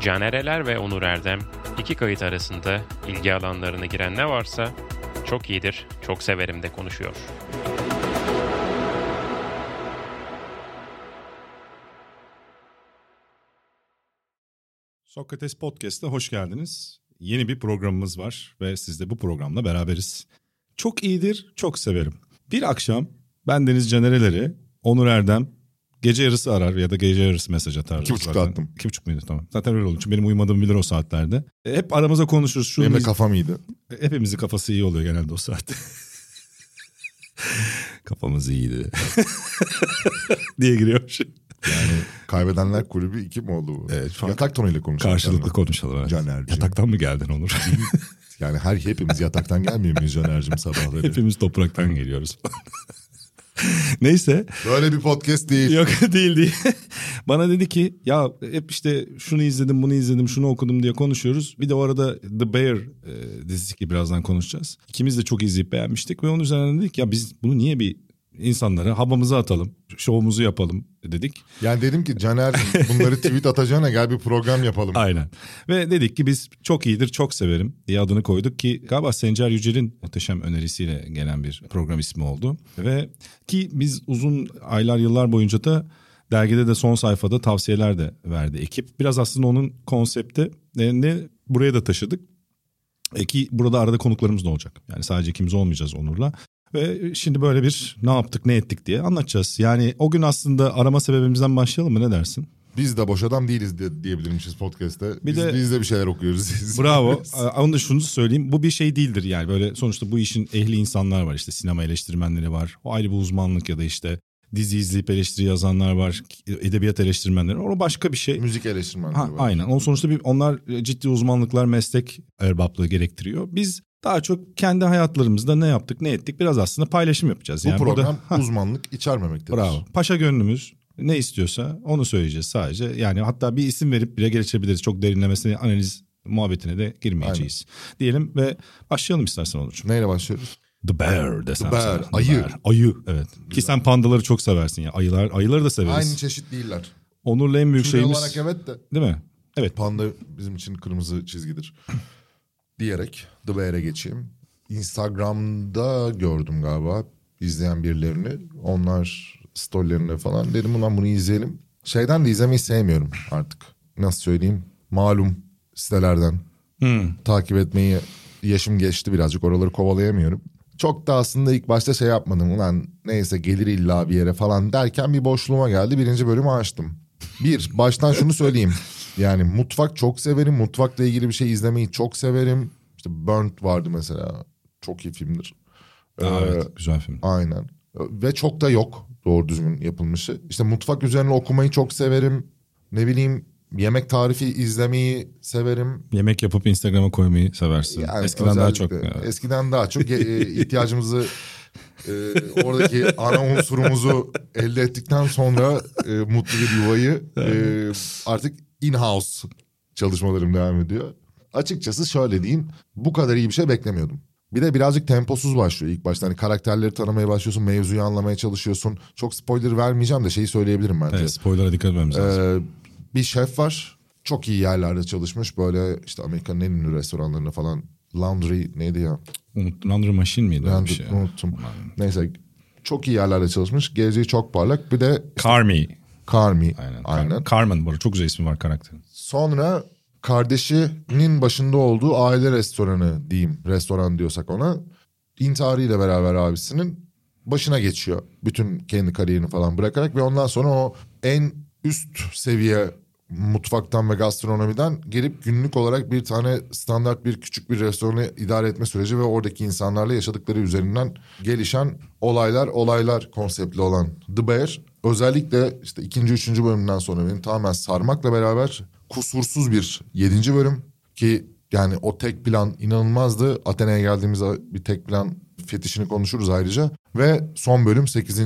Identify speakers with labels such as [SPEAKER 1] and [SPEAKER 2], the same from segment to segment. [SPEAKER 1] Caner Eler ve Onur Erdem iki kayıt arasında ilgi alanlarına giren ne varsa çok iyidir, çok severim de konuşuyor.
[SPEAKER 2] Sokrates Podcast'a hoş geldiniz. Yeni bir programımız var ve siz de bu programla beraberiz. Çok iyidir, çok severim. Bir akşam ben Deniz Canereleri, Onur Erdem gece yarısı arar ya da gece yarısı mesaj atar.
[SPEAKER 3] İki buçukta
[SPEAKER 2] Zaten-
[SPEAKER 3] attım.
[SPEAKER 2] İki buçuk muydu tamam. Zaten öyle olduğu için benim uyumadığımı bilir o saatlerde. E, Hep aramızda konuşuruz. Şunu
[SPEAKER 3] Benim de
[SPEAKER 2] biz-
[SPEAKER 3] kafam iyiydi.
[SPEAKER 2] Hepimizin kafası iyi oluyor genelde o saatte. Kafamız iyiydi. diye giriyor.
[SPEAKER 3] Kaybedenler kulübü iki mi oldu bu?
[SPEAKER 2] Evet, şu an-
[SPEAKER 3] Yatak tonuyla konuşuyoruz.
[SPEAKER 2] Karşılıklı konuşalım. Evet.
[SPEAKER 3] Caner'cim.
[SPEAKER 2] Yataktan mı geldin Onur?
[SPEAKER 3] Yani her hepimiz yataktan gelmiyor muyuz Caner'cim sabahları?
[SPEAKER 2] Hepimiz topraktan geliyoruz. Neyse.
[SPEAKER 3] Böyle bir podcast değil.
[SPEAKER 2] Yok değil değil. Bana dedi ki ya hep işte şunu izledim bunu izledim şunu okudum diye konuşuyoruz. Bir de o arada The Bear e, dizisi ki birazdan konuşacağız. İkimiz de çok izleyip beğenmiştik ve onun üzerine dedik ya biz bunu niye bir insanlara havamızı atalım, şovumuzu yapalım dedik.
[SPEAKER 3] Yani dedim ki Caner bunları tweet atacağına gel bir program yapalım.
[SPEAKER 2] Aynen. Ve dedik ki biz çok iyidir, çok severim diye adını koyduk ki galiba Sencer Yücel'in muhteşem önerisiyle gelen bir program ismi oldu. Ve ki biz uzun aylar yıllar boyunca da dergide de son sayfada tavsiyeler de verdi ekip. Biraz aslında onun konsepti e, ne buraya da taşıdık. E ki burada arada konuklarımız da olacak. Yani sadece ikimiz olmayacağız Onur'la. Ve şimdi böyle bir ne yaptık ne ettik diye anlatacağız. Yani o gün aslında arama sebebimizden başlayalım mı ne dersin?
[SPEAKER 3] Biz de boş adam değiliz de, diyebilirmişiz podcast'te.
[SPEAKER 2] Bir
[SPEAKER 3] biz,
[SPEAKER 2] de-
[SPEAKER 3] biz de bir şeyler okuyoruz.
[SPEAKER 2] Bravo. Aa, Onu da şunu söyleyeyim. Bu bir şey değildir yani. Böyle sonuçta bu işin ehli insanlar var. İşte sinema eleştirmenleri var. O ayrı bir uzmanlık ya da işte dizi izleyip eleştiri yazanlar var. Edebiyat eleştirmenleri. O başka bir şey.
[SPEAKER 3] Müzik eleştirmenleri
[SPEAKER 2] Ha,
[SPEAKER 3] var.
[SPEAKER 2] aynen. Onun sonuçta bir, onlar e, ciddi uzmanlıklar, meslek erbaplığı gerektiriyor. Biz daha çok kendi hayatlarımızda ne yaptık, ne ettik biraz aslında paylaşım yapacağız.
[SPEAKER 3] Bu
[SPEAKER 2] Yani burada-
[SPEAKER 3] program
[SPEAKER 2] Ha.
[SPEAKER 3] uzmanlık içermemektedir.
[SPEAKER 2] Bravo. Paşa gönlümüz ne istiyorsa onu söyleyeceğiz sadece. Yani hatta bir isim verip bile geçebiliriz. Çok derinlemesine analiz muhabbetine de girmeyeceğiz. Diyelim ve başlayalım istersen Onurcuğum.
[SPEAKER 3] Neyle başlıyoruz?
[SPEAKER 2] The Bear desem.
[SPEAKER 3] The Bear,
[SPEAKER 2] sana.
[SPEAKER 3] ayı.
[SPEAKER 2] Ayı evet. Ki sen pandaları çok seversin ya. Ayılar, ayıları da severiz.
[SPEAKER 3] Aynı çeşit değiller.
[SPEAKER 2] Onur'la en büyük
[SPEAKER 3] Türe
[SPEAKER 2] şeyimiz
[SPEAKER 3] olarak evet de
[SPEAKER 2] değil mi? Evet.
[SPEAKER 3] panda bizim için kırmızı çizgidir. Diyerek The Bear'e geçeyim. Instagram'da gördüm galiba izleyen birilerini. Onlar storylerinde falan. Dedim ulan bunu izleyelim. Şeyden de izlemeyi sevmiyorum artık. Nasıl söyleyeyim? Malum sitelerden takip etmeyi yaşım geçti birazcık. Oraları kovalayamıyorum. Çok da aslında ilk başta şey yapmadım. Ulan neyse gelir illa bir yere falan derken bir boşluğuma geldi. Birinci bölümü açtım. Bir, baştan şunu söyleyeyim. Yani mutfak çok severim. Mutfakla ilgili bir şey izlemeyi çok severim. İşte Burnt vardı mesela. Çok iyi filmdir.
[SPEAKER 2] Aa,
[SPEAKER 3] Ee,
[SPEAKER 2] evet. Güzel film.
[SPEAKER 3] Aynen. Ve çok da yok doğru düzgün yapılmışı. İşte mutfak üzerine okumayı çok severim. Ne bileyim yemek tarifi izlemeyi severim.
[SPEAKER 2] Yemek yapıp Instagram'a koymayı seversin.
[SPEAKER 3] Yani
[SPEAKER 2] Eskiden daha çok.
[SPEAKER 3] özellikle-
[SPEAKER 2] evet.
[SPEAKER 3] Eskiden daha çok e, ihtiyacımızı e, oradaki ana unsurumuzu elde ettikten sonra e, mutlu bir yuvayı e, artık in-house çalışmalarım devam ediyor. Açıkçası şöyle diyeyim bu kadar iyi bir şey beklemiyordum. Bir de birazcık temposuz başlıyor ilk başta. Hani karakterleri tanımaya başlıyorsun, mevzuyu anlamaya çalışıyorsun. Çok spoiler vermeyeceğim de şeyi söyleyebilirim bence.
[SPEAKER 2] Evet, spoiler'a dikkat etmemiz lazım.
[SPEAKER 3] Ee, bir şef var. Çok iyi yerlerde çalışmış. Böyle işte Amerika'nın en ünlü restoranlarına falan. Laundry neydi ya?
[SPEAKER 2] Unut- Laundry Machine miydi? öyle bir
[SPEAKER 3] Laundry
[SPEAKER 2] şey?
[SPEAKER 3] unuttum. Neyse çok iyi yerlerde çalışmış. Geleceği çok parlak. Bir de
[SPEAKER 2] Carmi.
[SPEAKER 3] Carmi.
[SPEAKER 2] Aynen.
[SPEAKER 3] Aynen.
[SPEAKER 2] Carmen var. Çok güzel ismi var karakterin.
[SPEAKER 3] Sonra kardeşinin başında olduğu aile restoranı diyeyim. Restoran diyorsak ona. intiharıyla beraber abisinin başına geçiyor. Bütün kendi kariyerini falan bırakarak ve ondan sonra o en üst seviye mutfaktan ve gastronomiden gelip günlük olarak bir tane standart bir küçük bir restoranı idare etme süreci ve oradaki insanlarla yaşadıkları üzerinden gelişen olaylar olaylar konseptli olan The Bear özellikle işte ikinci üçüncü bölümden sonra benim tamamen sarmakla beraber kusursuz bir yedinci bölüm ki yani o tek plan inanılmazdı. Athena'ya geldiğimizde bir tek plan fetişini konuşuruz ayrıca. Ve son bölüm 8.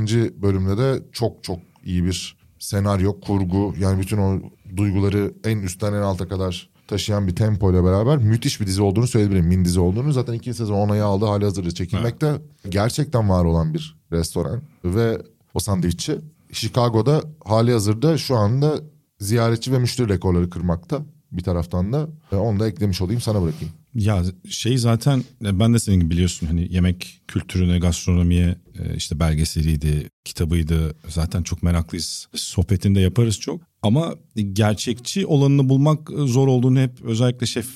[SPEAKER 3] bölümde de çok çok iyi bir senaryo, kurgu yani bütün o duyguları en üstten en alta kadar taşıyan bir tempo ile beraber müthiş bir dizi olduğunu söyleyebilirim. Min dizi olduğunu zaten ikinci sezon onayı aldı hali hazırda çekilmekte. Gerçekten var olan bir restoran ve o sandviççi Chicago'da hali hazırda şu anda ziyaretçi ve müşteri rekorları kırmakta. bir taraftan da. E, Onu da eklemiş olayım sana bırakayım.
[SPEAKER 2] Ya şey zaten e, ben de senin gibi biliyorsun hani yemek kültürüne, gastronomiye e, işte belgeseliydi, kitabıydı. Zaten çok meraklıyız. Sohbetinde yaparız çok. Ama gerçekçi olanını bulmak e, zor olduğunu hep özellikle şef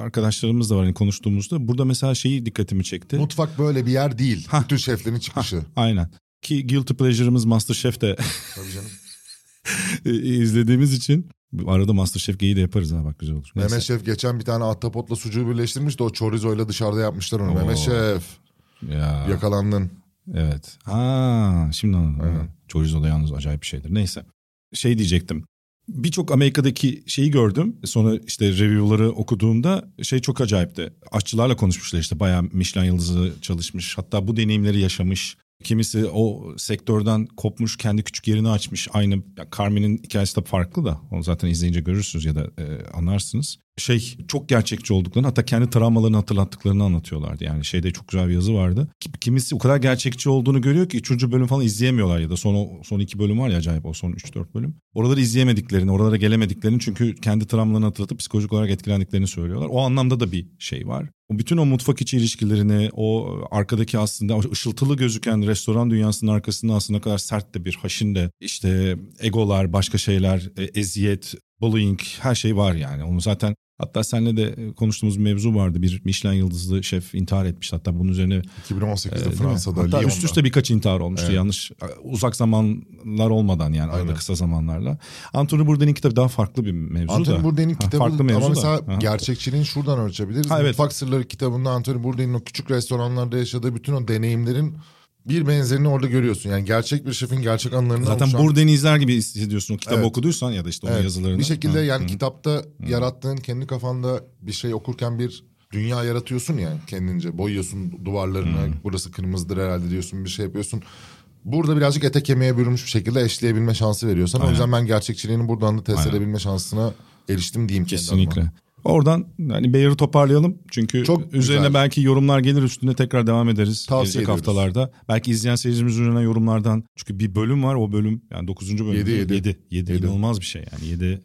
[SPEAKER 2] arkadaşlarımız da var hani konuştuğumuzda. Burada mesela şeyi dikkatimi çekti.
[SPEAKER 3] Mutfak böyle bir yer değil.
[SPEAKER 2] Hah.
[SPEAKER 3] Bütün şeflerin çıkışı.
[SPEAKER 2] Aynen. Ki Guilty Pleasure'ımız Masterchef de
[SPEAKER 3] Tabii canım.
[SPEAKER 2] izlediğimiz için. Arada Masterchef geyiği de yaparız ha bak güzel olur. Neyse.
[SPEAKER 3] Mehmet Şef geçen bir tane ahtapotla sucuğu birleştirmiş de o chorizoyla dışarıda yapmışlar onu.
[SPEAKER 2] Oo. E,
[SPEAKER 3] Mehmet Şef
[SPEAKER 2] Ya.
[SPEAKER 3] yakalandın.
[SPEAKER 2] Evet. Ha, şimdi anladım.
[SPEAKER 3] Aynen.
[SPEAKER 2] Evet. Chorizo da yalnız acayip bir şeydir. Neyse. Şey diyecektim. Birçok Amerika'daki şeyi gördüm. Sonra işte review'ları okuduğumda şey çok acayipti. Aşçılarla konuşmuşlar işte bayağı Michelin yıldızı çalışmış. Hatta bu deneyimleri yaşamış. Kimisi o sektörden kopmuş, kendi küçük yerini açmış. Aynı ya Carmen'in hikayesi de farklı da. Onu zaten izleyince görürsünüz ya da e, anlarsınız. Şey çok gerçekçi olduklarını hatta kendi travmalarını hatırlattıklarını anlatıyorlardı. Yani şeyde çok güzel bir yazı vardı. Ki- Kimisi o kadar gerçekçi olduğunu görüyor ki üçüncü bölüm falan izleyemiyorlar ya da son o- son iki bölüm var ya acayip o son 3-4 bölüm. Oraları izleyemediklerini, oralara gelemediklerini çünkü kendi travmalarını hatırlatıp psikolojik olarak etkilendiklerini söylüyorlar. O anlamda da bir şey var. O bütün o mutfak içi ilişkilerini, o arkadaki aslında o ışıltılı gözüken restoran dünyasının arkasında aslında ne kadar sert de bir haşin de işte egolar, başka şeyler, e, eziyet, bullying her şey var yani. Onu zaten hatta seninle de e, konuştuğumuz bir mevzu vardı. Bir Michelin yıldızlı şef intihar etmiş. Hatta bunun üzerine
[SPEAKER 3] 2018'de
[SPEAKER 2] e, değil mi?
[SPEAKER 3] Fransa'da
[SPEAKER 2] Hatta
[SPEAKER 3] Lyon'da.
[SPEAKER 2] üst üste birkaç intihar olmuştu
[SPEAKER 3] Evet.
[SPEAKER 2] yanlış uzak zamanlar olmadan yani arada
[SPEAKER 3] Aynen.
[SPEAKER 2] kısa zamanlarla. Anthony Bourdain'in kitabı daha farklı bir mevzu da.
[SPEAKER 3] Anthony Bourdain'in
[SPEAKER 2] Ha,
[SPEAKER 3] kitabı
[SPEAKER 2] farklı mevzu
[SPEAKER 3] ama
[SPEAKER 2] da.
[SPEAKER 3] mesela
[SPEAKER 2] Aha.
[SPEAKER 3] gerçekçiliğini şuradan ölçebiliriz.
[SPEAKER 2] Ha, evet.
[SPEAKER 3] Mutfak Sırları kitabında Anthony Bourdain'in o küçük restoranlarda yaşadığı bütün o deneyimlerin bir benzerini orada görüyorsun. Yani gerçek bir şefin gerçek anılarını
[SPEAKER 2] Zaten
[SPEAKER 3] oluşan-
[SPEAKER 2] Bourdain'i izler gibi hissediyorsun o kitabı
[SPEAKER 3] Evet.
[SPEAKER 2] okuduysan ya da işte onun
[SPEAKER 3] Evet,
[SPEAKER 2] yazılarını.
[SPEAKER 3] Bir şekilde
[SPEAKER 2] Ha.
[SPEAKER 3] yani kitapta yarattığın kendi kafanda bir şey okurken bir dünya yaratıyorsun yani kendince. Boyuyorsun duvarlarını burası kırmızıdır herhalde diyorsun bir şey yapıyorsun. Burada birazcık ete kemiğe bürünmüş bir şekilde eşleyebilme şansı veriyorsan. O yüzden ben gerçekçiliğini buradan da test
[SPEAKER 2] Aynen.
[SPEAKER 3] edebilme şansına eriştim diyeyim kendi adıma.
[SPEAKER 2] Kesinlikle. Oradan yani Bayer'ı toparlayalım. Çünkü
[SPEAKER 3] Çok
[SPEAKER 2] üzerine
[SPEAKER 3] güzel.
[SPEAKER 2] belki yorumlar gelir üstüne tekrar devam ederiz.
[SPEAKER 3] Tavsiye
[SPEAKER 2] gelecek
[SPEAKER 3] ediyoruz.
[SPEAKER 2] haftalarda. Belki izleyen seyircimiz üzerine yorumlardan. Çünkü bir bölüm var o bölüm yani 9. bölüm.
[SPEAKER 3] Yedi,
[SPEAKER 2] değil,
[SPEAKER 3] yedi.
[SPEAKER 2] Yedi, yedi.
[SPEAKER 3] Yedi.
[SPEAKER 2] İnanılmaz bir şey yani. 7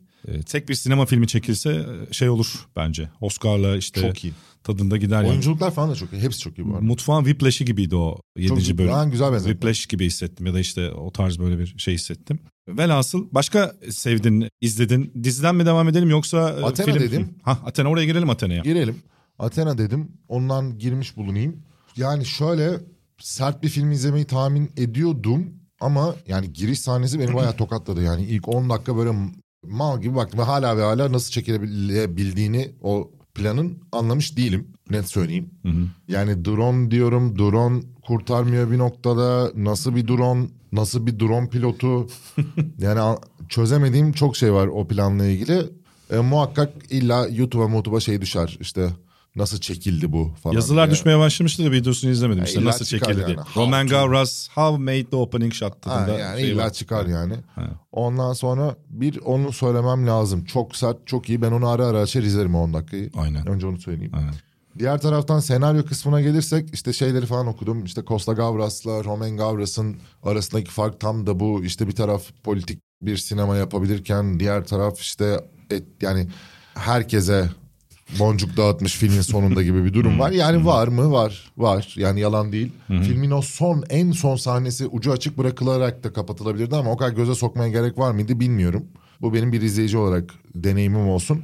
[SPEAKER 2] tek bir sinema filmi çekilse e, şey olur bence. Oscar'la işte
[SPEAKER 3] Çok iyi.
[SPEAKER 2] tadında gider. yani.
[SPEAKER 3] Oyunculuklar falan da çok iyi. Hepsi çok iyi bu arada.
[SPEAKER 2] Mutfağın Whiplash'i gibiydi o 7.
[SPEAKER 3] Çok-
[SPEAKER 2] bölüm.
[SPEAKER 3] Ha, güzel benzetme.
[SPEAKER 2] Whiplash gibi hissettim ya da işte o tarz böyle bir şey hissettim. Velhasıl başka sevdin, izledin. Diziden mi devam edelim yoksa e,
[SPEAKER 3] Athena
[SPEAKER 2] film?
[SPEAKER 3] dedim.
[SPEAKER 2] Ha Athena oraya girelim Athena'ya.
[SPEAKER 3] Girelim. Athena dedim. Ondan girmiş bulunayım. Yani şöyle sert bir film izlemeyi tahmin ediyordum. Ama yani giriş sahnesi beni bayağı tokatladı. Yani ilk 10 dakika böyle mal gibi baktım. Ve hala ve hala nasıl çekilebildiğini o planın anlamış değilim. Net söyleyeyim.
[SPEAKER 2] Hı hı.
[SPEAKER 3] Yani drone diyorum. Drone kurtarmıyor bir noktada. Nasıl bir drone? Nasıl bir drone pilotu? yani a- çözemediğim çok şey var o planla ilgili. E, muhakkak illa YouTube'a YouTube'a şey düşer. İşte nasıl çekildi bu falan.
[SPEAKER 2] Yazılar
[SPEAKER 3] diye.
[SPEAKER 2] düşmeye başlamıştı da videosunu izlemedim.
[SPEAKER 3] Ya
[SPEAKER 2] işte
[SPEAKER 3] illa
[SPEAKER 2] nasıl
[SPEAKER 3] çıkar
[SPEAKER 2] çekildi.
[SPEAKER 3] yani.
[SPEAKER 2] diye.
[SPEAKER 3] How
[SPEAKER 2] Roman
[SPEAKER 3] to-
[SPEAKER 2] Gavras How Made the Opening Shot
[SPEAKER 3] Ha,
[SPEAKER 2] tadında.
[SPEAKER 3] yani
[SPEAKER 2] şey
[SPEAKER 3] illa
[SPEAKER 2] var.
[SPEAKER 3] çıkar yani.
[SPEAKER 2] Ha.
[SPEAKER 3] Ondan sonra bir onu söylemem lazım. Çok sert, çok iyi. Ben onu ara ara açar izlerim o 10 dakikayı.
[SPEAKER 2] Aynen.
[SPEAKER 3] Önce onu söyleyeyim.
[SPEAKER 2] Aynen.
[SPEAKER 3] Diğer taraftan senaryo kısmına gelirsek işte şeyleri falan okudum. İşte Costa Gavras'la Romain Gavras'ın arasındaki fark tam da bu. İşte bir taraf politik bir sinema yapabilirken diğer taraf işte et, yani herkese boncuk dağıtmış filmin sonunda gibi bir durum var. Yani var mı? Var. Var. Yani yalan değil. Filmin o son en son sahnesi ucu açık bırakılarak da kapatılabilirdi ama o kadar göze sokmaya gerek var mıydı bilmiyorum. Bu benim bir izleyici olarak deneyimim olsun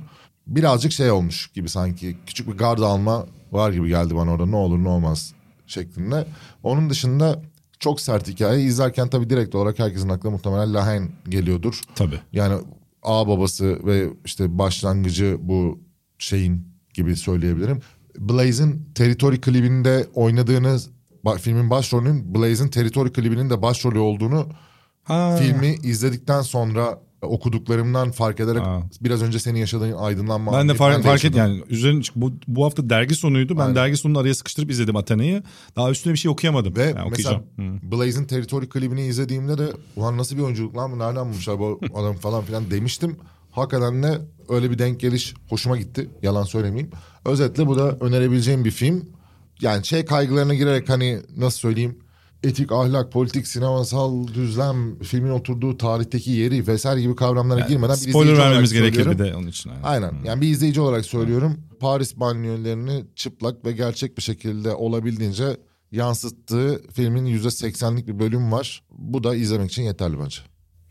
[SPEAKER 3] birazcık şey olmuş gibi sanki küçük bir garda alma var gibi geldi bana orada ne olur ne olmaz şeklinde. Onun dışında çok sert hikaye izlerken tabii direkt olarak herkesin aklına muhtemelen Lahen geliyordur.
[SPEAKER 2] Tabii.
[SPEAKER 3] Yani ağ babası ve işte başlangıcı bu şeyin gibi söyleyebilirim. Blaze'in Territory klibinde oynadığını ba- filmin başrolünün Blaze'in Territory klibinin de başrolü olduğunu
[SPEAKER 2] Ha.
[SPEAKER 3] filmi izledikten sonra okuduklarımdan fark ederek
[SPEAKER 2] Aa.
[SPEAKER 3] biraz önce senin yaşadığın aydınlanma.
[SPEAKER 2] Ben de
[SPEAKER 3] anı-
[SPEAKER 2] fark, fark et
[SPEAKER 3] yaşadım.
[SPEAKER 2] yani üzerine çık- bu, bu hafta dergi sonuydu. Ben
[SPEAKER 3] Aynen.
[SPEAKER 2] dergi sonunu araya sıkıştırıp izledim Athena'yı. Daha üstüne bir şey okuyamadım.
[SPEAKER 3] Ve
[SPEAKER 2] Yani okuyacağım.
[SPEAKER 3] mesela Blaze'in Territory klibini izlediğimde de ulan nasıl bir oyunculuk lan bu nereden bulmuşlar bu adam falan filan demiştim. Hakikaten de öyle bir denk geliş hoşuma gitti. Yalan söylemeyeyim. Özetle bu da önerebileceğim bir film. Yani şey kaygılarına girerek hani nasıl söyleyeyim etik, ahlak, politik, sinemasal düzlem, filmin oturduğu tarihteki yeri vesaire gibi kavramlara girmeden bir
[SPEAKER 2] Spoiler
[SPEAKER 3] izleyici olarak
[SPEAKER 2] vermemiz gerekir
[SPEAKER 3] söylüyorum.
[SPEAKER 2] bir de onun için. Aynen.
[SPEAKER 3] Aynen. Yani bir izleyici olarak söylüyorum. Paris banliyölerini çıplak ve gerçek bir şekilde olabildiğince yansıttığı filmin %80'lik bir bölüm var. Bu da izlemek için yeterli bence.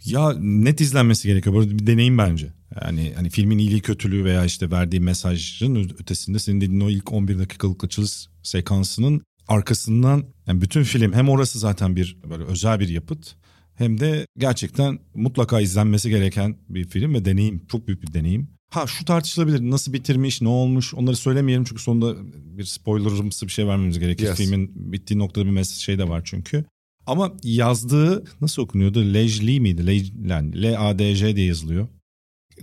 [SPEAKER 2] Ya net izlenmesi gerekiyor. Burada bir deneyim bence. Yani hani filmin iyiliği kötülüğü veya işte verdiği mesajın ötesinde senin dediğin o ilk 11 dakikalık açılış sekansının arkasından yani bütün film hem orası zaten bir böyle özel bir yapıt hem de gerçekten mutlaka izlenmesi gereken bir film ve deneyim. Çok büyük bir deneyim. Ha şu tartışılabilir. Nasıl bitirmiş, ne olmuş onları söylemeyelim çünkü sonunda bir spoilerımsı bir şey vermemiz gerekir.
[SPEAKER 3] Yes.
[SPEAKER 2] Filmin bittiği noktada bir mesaj şey de var çünkü. Ama yazdığı nasıl okunuyordu? Lejli miydi? Lej- yani L-A-D-J diye yazılıyor.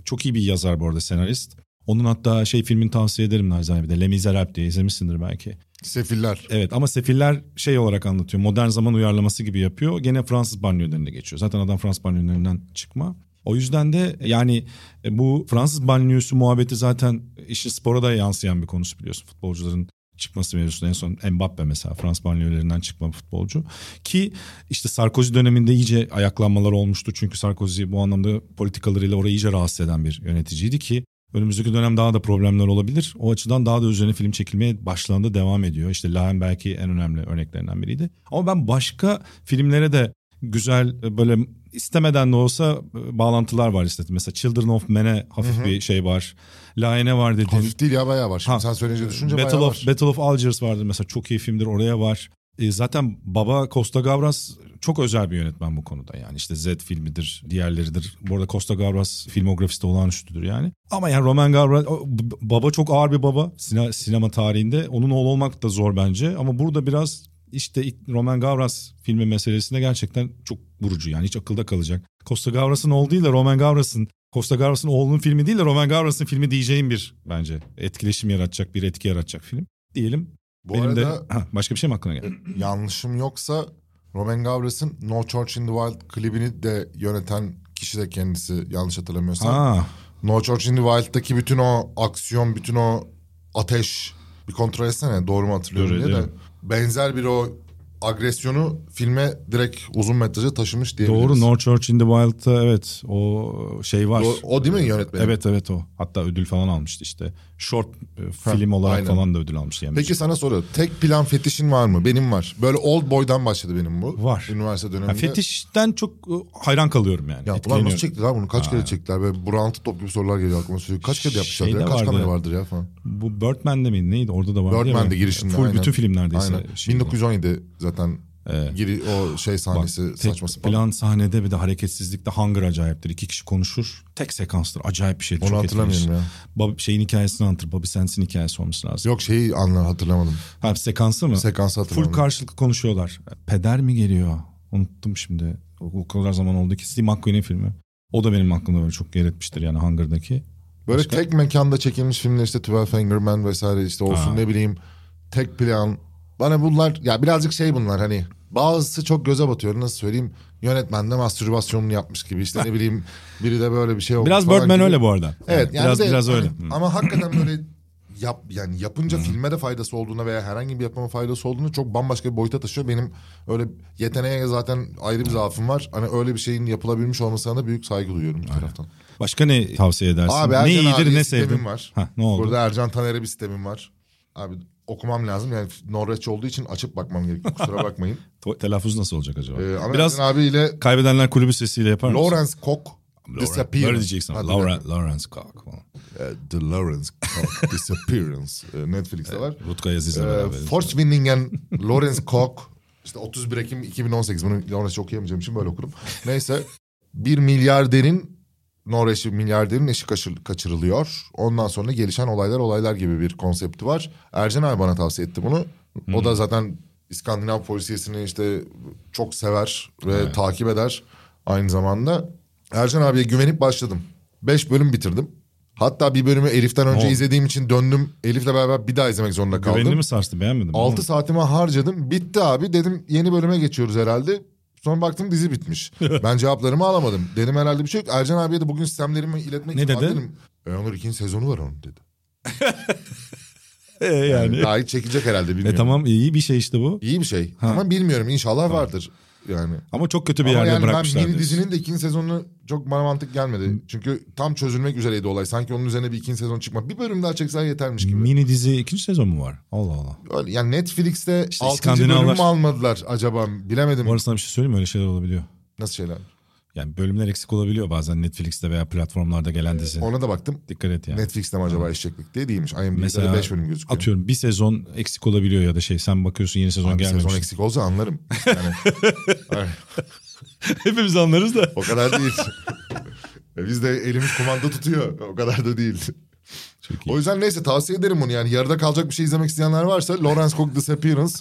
[SPEAKER 2] Çok iyi bir yazar bu arada senarist. Onun hatta şey filmini tavsiye ederim Nazan bir de. Le Miserable diye izlemişsindir belki.
[SPEAKER 3] Sefiller.
[SPEAKER 2] Evet ama Sefiller şey olarak anlatıyor. Modern zaman uyarlaması gibi yapıyor. Gene Fransız banliyölerinde geçiyor. Zaten adam Fransız banliyölerinden çıkma. O yüzden de yani e, bu Fransız banliyösü muhabbeti zaten işin spora da yansıyan bir konusu biliyorsun. Futbolcuların çıkması mevzusunda en son Mbappe mesela Fransız banliyölerinden çıkma bir futbolcu. Ki işte Sarkozy döneminde iyice ayaklanmalar olmuştu. Çünkü Sarkozy bu anlamda politikalarıyla orayı iyice rahatsız eden bir yöneticiydi ki Önümüzdeki dönem daha da problemler olabilir. O açıdan daha da üzerine film çekilmeye başlandı devam ediyor. İşte Lahem belki en önemli örneklerinden biriydi. Ama ben başka filmlere de güzel e, böyle istemeden de olsa e, bağlantılar var işte. Mesela Children of Men'e hafif bir şey var. Lahen'e var dedin.
[SPEAKER 3] Hafif değil ya bayağı var. Şimdi
[SPEAKER 2] Ha. e,
[SPEAKER 3] sen söyleyince düşünce
[SPEAKER 2] Battle
[SPEAKER 3] bayağı
[SPEAKER 2] of,
[SPEAKER 3] var.
[SPEAKER 2] Battle of Algiers vardır mesela çok iyi filmdir oraya var. E, zaten baba Costa Gavras çok özel bir yönetmen bu konuda yani işte Z filmidir diğerleridir. Bu arada Costa Gavras filmografisi de olağanüstüdür yani. Ama yani Roman Gavras o, b- baba çok ağır bir baba sine- sinema tarihinde. Onun oğlu olmak da zor bence ama burada biraz işte ilk Roman Gavras filmi meselesinde gerçekten çok vurucu yani hiç akılda kalacak. Costa Gavras'ın oğlu değil de Roman Gavras'ın Costa Gavras'ın oğlunun filmi değil de Roman Gavras'ın filmi diyeceğim bir bence etkileşim yaratacak bir etki yaratacak film diyelim.
[SPEAKER 3] Bu
[SPEAKER 2] Benim
[SPEAKER 3] arada
[SPEAKER 2] de ha, başka bir şey mi aklına geldi?
[SPEAKER 3] yanlışım yoksa Roman Gavras'ın No Church in the Wild klibini de yöneten kişi de kendisi yanlış hatırlamıyorsam.
[SPEAKER 2] Ha,
[SPEAKER 3] No Church in the Wild'daki bütün o aksiyon, bütün o ateş bir kontrol etsene doğru mu hatırlıyorum
[SPEAKER 2] Doğru,
[SPEAKER 3] diye de
[SPEAKER 2] değil mi?
[SPEAKER 3] benzer bir o agresyonu filme direkt uzun metraja taşımış diyebiliriz.
[SPEAKER 2] doğru No Church in the Wild'da evet o şey var.
[SPEAKER 3] O- o değil mi yönetmeni?
[SPEAKER 2] Evet evet o. Hatta ödül falan almıştı işte. Short e, film olarak
[SPEAKER 3] aynen.
[SPEAKER 2] falan da ödül almıştı. Yani
[SPEAKER 3] Peki sana soruyorum. Tek plan fetişin var mı? Benim var. Böyle old boy'dan başladı benim bu.
[SPEAKER 2] Var.
[SPEAKER 3] Üniversite döneminde.
[SPEAKER 2] Ha, fetişten çok e, hayran kalıyorum yani.
[SPEAKER 3] Ya ulan
[SPEAKER 2] Etkileniyorum.
[SPEAKER 3] nasıl çekti lan bunu? Kaç kere çektiler? Böyle burantı top gibi sorular geliyor aklıma sürekli. Kaç kere yapmışlar?
[SPEAKER 2] Şeyde
[SPEAKER 3] ya? Kaç
[SPEAKER 2] vardı.
[SPEAKER 3] kamera vardır ya falan.
[SPEAKER 2] Bu Birdman'de miydi neydi orada da vardı. ya
[SPEAKER 3] Birdman'de
[SPEAKER 2] böyle.
[SPEAKER 3] girişinde.
[SPEAKER 2] Full
[SPEAKER 3] aynen.
[SPEAKER 2] bütün filmlerdeyse.
[SPEAKER 3] Aynen.
[SPEAKER 2] şey bu.
[SPEAKER 3] 1917 zaten giri o şey sahnesi
[SPEAKER 2] Tek
[SPEAKER 3] saçma sapan.
[SPEAKER 2] plan sahnede bir de hareketsizlikte hunger acayiptir. İki kişi konuşur. Tek sekanstır. Acayip bir şeydir.
[SPEAKER 3] Onu
[SPEAKER 2] Çok
[SPEAKER 3] hatırlamıyorum
[SPEAKER 2] etkileyici.
[SPEAKER 3] ya.
[SPEAKER 2] Bob, şeyin hikayesini anlatır. Bobby Sands'in hikayesi olması lazım.
[SPEAKER 3] Yok şeyi anla hatırlamadım.
[SPEAKER 2] Ha sekansı mı?
[SPEAKER 3] Sekansı hatırlamadım.
[SPEAKER 2] Full karşılıklı konuşuyorlar. Peder mi geliyor? Unuttum şimdi. O, o kadar zaman oldu ki. Steve McQueen'in filmi. O da benim aklımda böyle çok yer etmiştir yani Hunger'daki.
[SPEAKER 3] Böyle
[SPEAKER 2] Başka?
[SPEAKER 3] tek mekanda çekilmiş filmler işte Twelve Angry Men vesaire işte olsun
[SPEAKER 2] Ha.
[SPEAKER 3] ne bileyim tek plan. Bana bunlar ya birazcık şey bunlar hani bazısı çok göze batıyor nasıl söyleyeyim yönetmen de mastürbasyonunu yapmış gibi işte ne bileyim biri de böyle bir şey oldu
[SPEAKER 2] Biraz
[SPEAKER 3] falan
[SPEAKER 2] Birdman
[SPEAKER 3] gibi.
[SPEAKER 2] öyle bu arada.
[SPEAKER 3] Evet yani
[SPEAKER 2] biraz
[SPEAKER 3] de-
[SPEAKER 2] biraz
[SPEAKER 3] hani-
[SPEAKER 2] öyle.
[SPEAKER 3] Ama hakikaten böyle yap yani yapınca filme de faydası olduğuna veya herhangi bir yapıma faydası olduğunu çok bambaşka bir boyuta taşıyor. Benim öyle yeteneğe zaten ayrı bir zaafım var. Hani öyle bir şeyin yapılabilmiş olmasına da büyük saygı duyuyorum bir taraftan.
[SPEAKER 2] Başka ne tavsiye edersin?
[SPEAKER 3] Abi
[SPEAKER 2] ne
[SPEAKER 3] Ercan
[SPEAKER 2] iyidir
[SPEAKER 3] abi
[SPEAKER 2] ne
[SPEAKER 3] sistemim
[SPEAKER 2] sevdin?
[SPEAKER 3] var.
[SPEAKER 2] Ha, ne oldu?
[SPEAKER 3] Burada Ercan Taner'e bir sistemim var. Abi okumam lazım yani Norveç olduğu için açıp bakmam gerekiyor kusura bakmayın.
[SPEAKER 2] To- Telaffuz nasıl olacak acaba?
[SPEAKER 3] Ee, ama
[SPEAKER 2] biraz
[SPEAKER 3] Ercan abiyle
[SPEAKER 2] Kaybedenler Kulübü sesiyle yapar mısın?
[SPEAKER 3] Lawrence Cook
[SPEAKER 2] Lawrence,
[SPEAKER 3] Disappearance.
[SPEAKER 2] böyle diyeceksin.
[SPEAKER 3] Ha,
[SPEAKER 2] ama.
[SPEAKER 3] dur, dur.
[SPEAKER 2] Lawrence, Lawrence Cook falan.
[SPEAKER 3] Ee, The Lawrence Cook Disappearance. Ee, Netflix'te var.
[SPEAKER 2] Rutkay Aziz'le
[SPEAKER 3] Ee,
[SPEAKER 2] beraber.
[SPEAKER 3] Force Winningen, Lawrence Koch. İşte 31 Ekim 2018. Bunu Norveççe okuyamayacağım için böyle okurum. Neyse. Bir milyarderin Norveçli milyarderin eşi kaçır- kaçırılıyor. Ondan sonra gelişen olaylar olaylar gibi bir konsepti var. Ercan abi bana tavsiye etti bunu. O
[SPEAKER 2] Hmm.
[SPEAKER 3] da zaten İskandinav polisiyesini işte çok sever ve takip eder aynı zamanda. Ercan abiye güvenip başladım. Beş bölüm bitirdim. Hatta bir bölümü Elif'ten önce
[SPEAKER 2] Oo.
[SPEAKER 3] izlediğim için döndüm. Elif'le beraber bir daha izlemek zorunda kaldım.
[SPEAKER 2] Güvenini mi sarstı beğenmedin mi?
[SPEAKER 3] 6 saatimi harcadım. Bitti abi. Dedim yeni bölüme geçiyoruz herhalde. Sonra baktım dizi bitmiş. ben cevaplarımı alamadım. Dedim herhalde bir şey yok. Ercan abiye de bugün sistemlerimi iletmek
[SPEAKER 2] Ne
[SPEAKER 3] için.
[SPEAKER 2] dedi?
[SPEAKER 3] "Abi," Dedim, e Onur ikinci sezonu var onun dedi.
[SPEAKER 2] E, yani.
[SPEAKER 3] Daha iyi çekilecek herhalde bilmiyorum.
[SPEAKER 2] E tamam iyi bir şey işte bu.
[SPEAKER 3] İyi bir şey.
[SPEAKER 2] Ha.
[SPEAKER 3] Ama bilmiyorum inşallah vardır yani.
[SPEAKER 2] Ama çok kötü bir
[SPEAKER 3] Ama
[SPEAKER 2] yerde
[SPEAKER 3] yani
[SPEAKER 2] bırakmışlar.
[SPEAKER 3] ben yeni
[SPEAKER 2] diyorsun. Hmm.
[SPEAKER 3] dizinin de ikinci sezonu çok bana mantık gelmedi. Çünkü tam çözülmek üzereydi olay. Sanki onun üzerine bir ikinci sezon çıkmak. Bir bölüm daha çeksen yetermiş gibi.
[SPEAKER 2] Mini dizi ikinci sezon mu var? Allah Allah.
[SPEAKER 3] Öyle, yani Netflix'te
[SPEAKER 2] İşte
[SPEAKER 3] 6. bölüm
[SPEAKER 2] İskandinavlar-
[SPEAKER 3] mü almadılar acaba bilemedim.
[SPEAKER 2] Bu arada sana bir şey söyleyeyim mi? Öyle şeyler olabiliyor.
[SPEAKER 3] Nasıl şeyler?
[SPEAKER 2] Yani bölümler eksik olabiliyor bazen Netflix'te veya platformlarda gelen dizi.
[SPEAKER 3] Ona da baktım.
[SPEAKER 2] Dikkat et yani.
[SPEAKER 3] Netflix'te mi acaba eşeklik diye değilmiş. IMDb'de
[SPEAKER 2] Mesela
[SPEAKER 3] 5 bölüm gözüküyor.
[SPEAKER 2] Atıyorum bir sezon eksik olabiliyor ya da şey sen bakıyorsun yeni sezon
[SPEAKER 3] Abi
[SPEAKER 2] gelmemiş.
[SPEAKER 3] sezon eksik olsa anlarım. Yani,
[SPEAKER 2] Hepimiz anlarız da.
[SPEAKER 3] o kadar değil. E, Biz de elimiz kumanda tutuyor. O kadar da değil.
[SPEAKER 2] Çok iyi.
[SPEAKER 3] O yüzden neyse tavsiye ederim bunu. Yani yarıda kalacak bir şey izlemek isteyenler varsa Lawrence Cook Disappearance.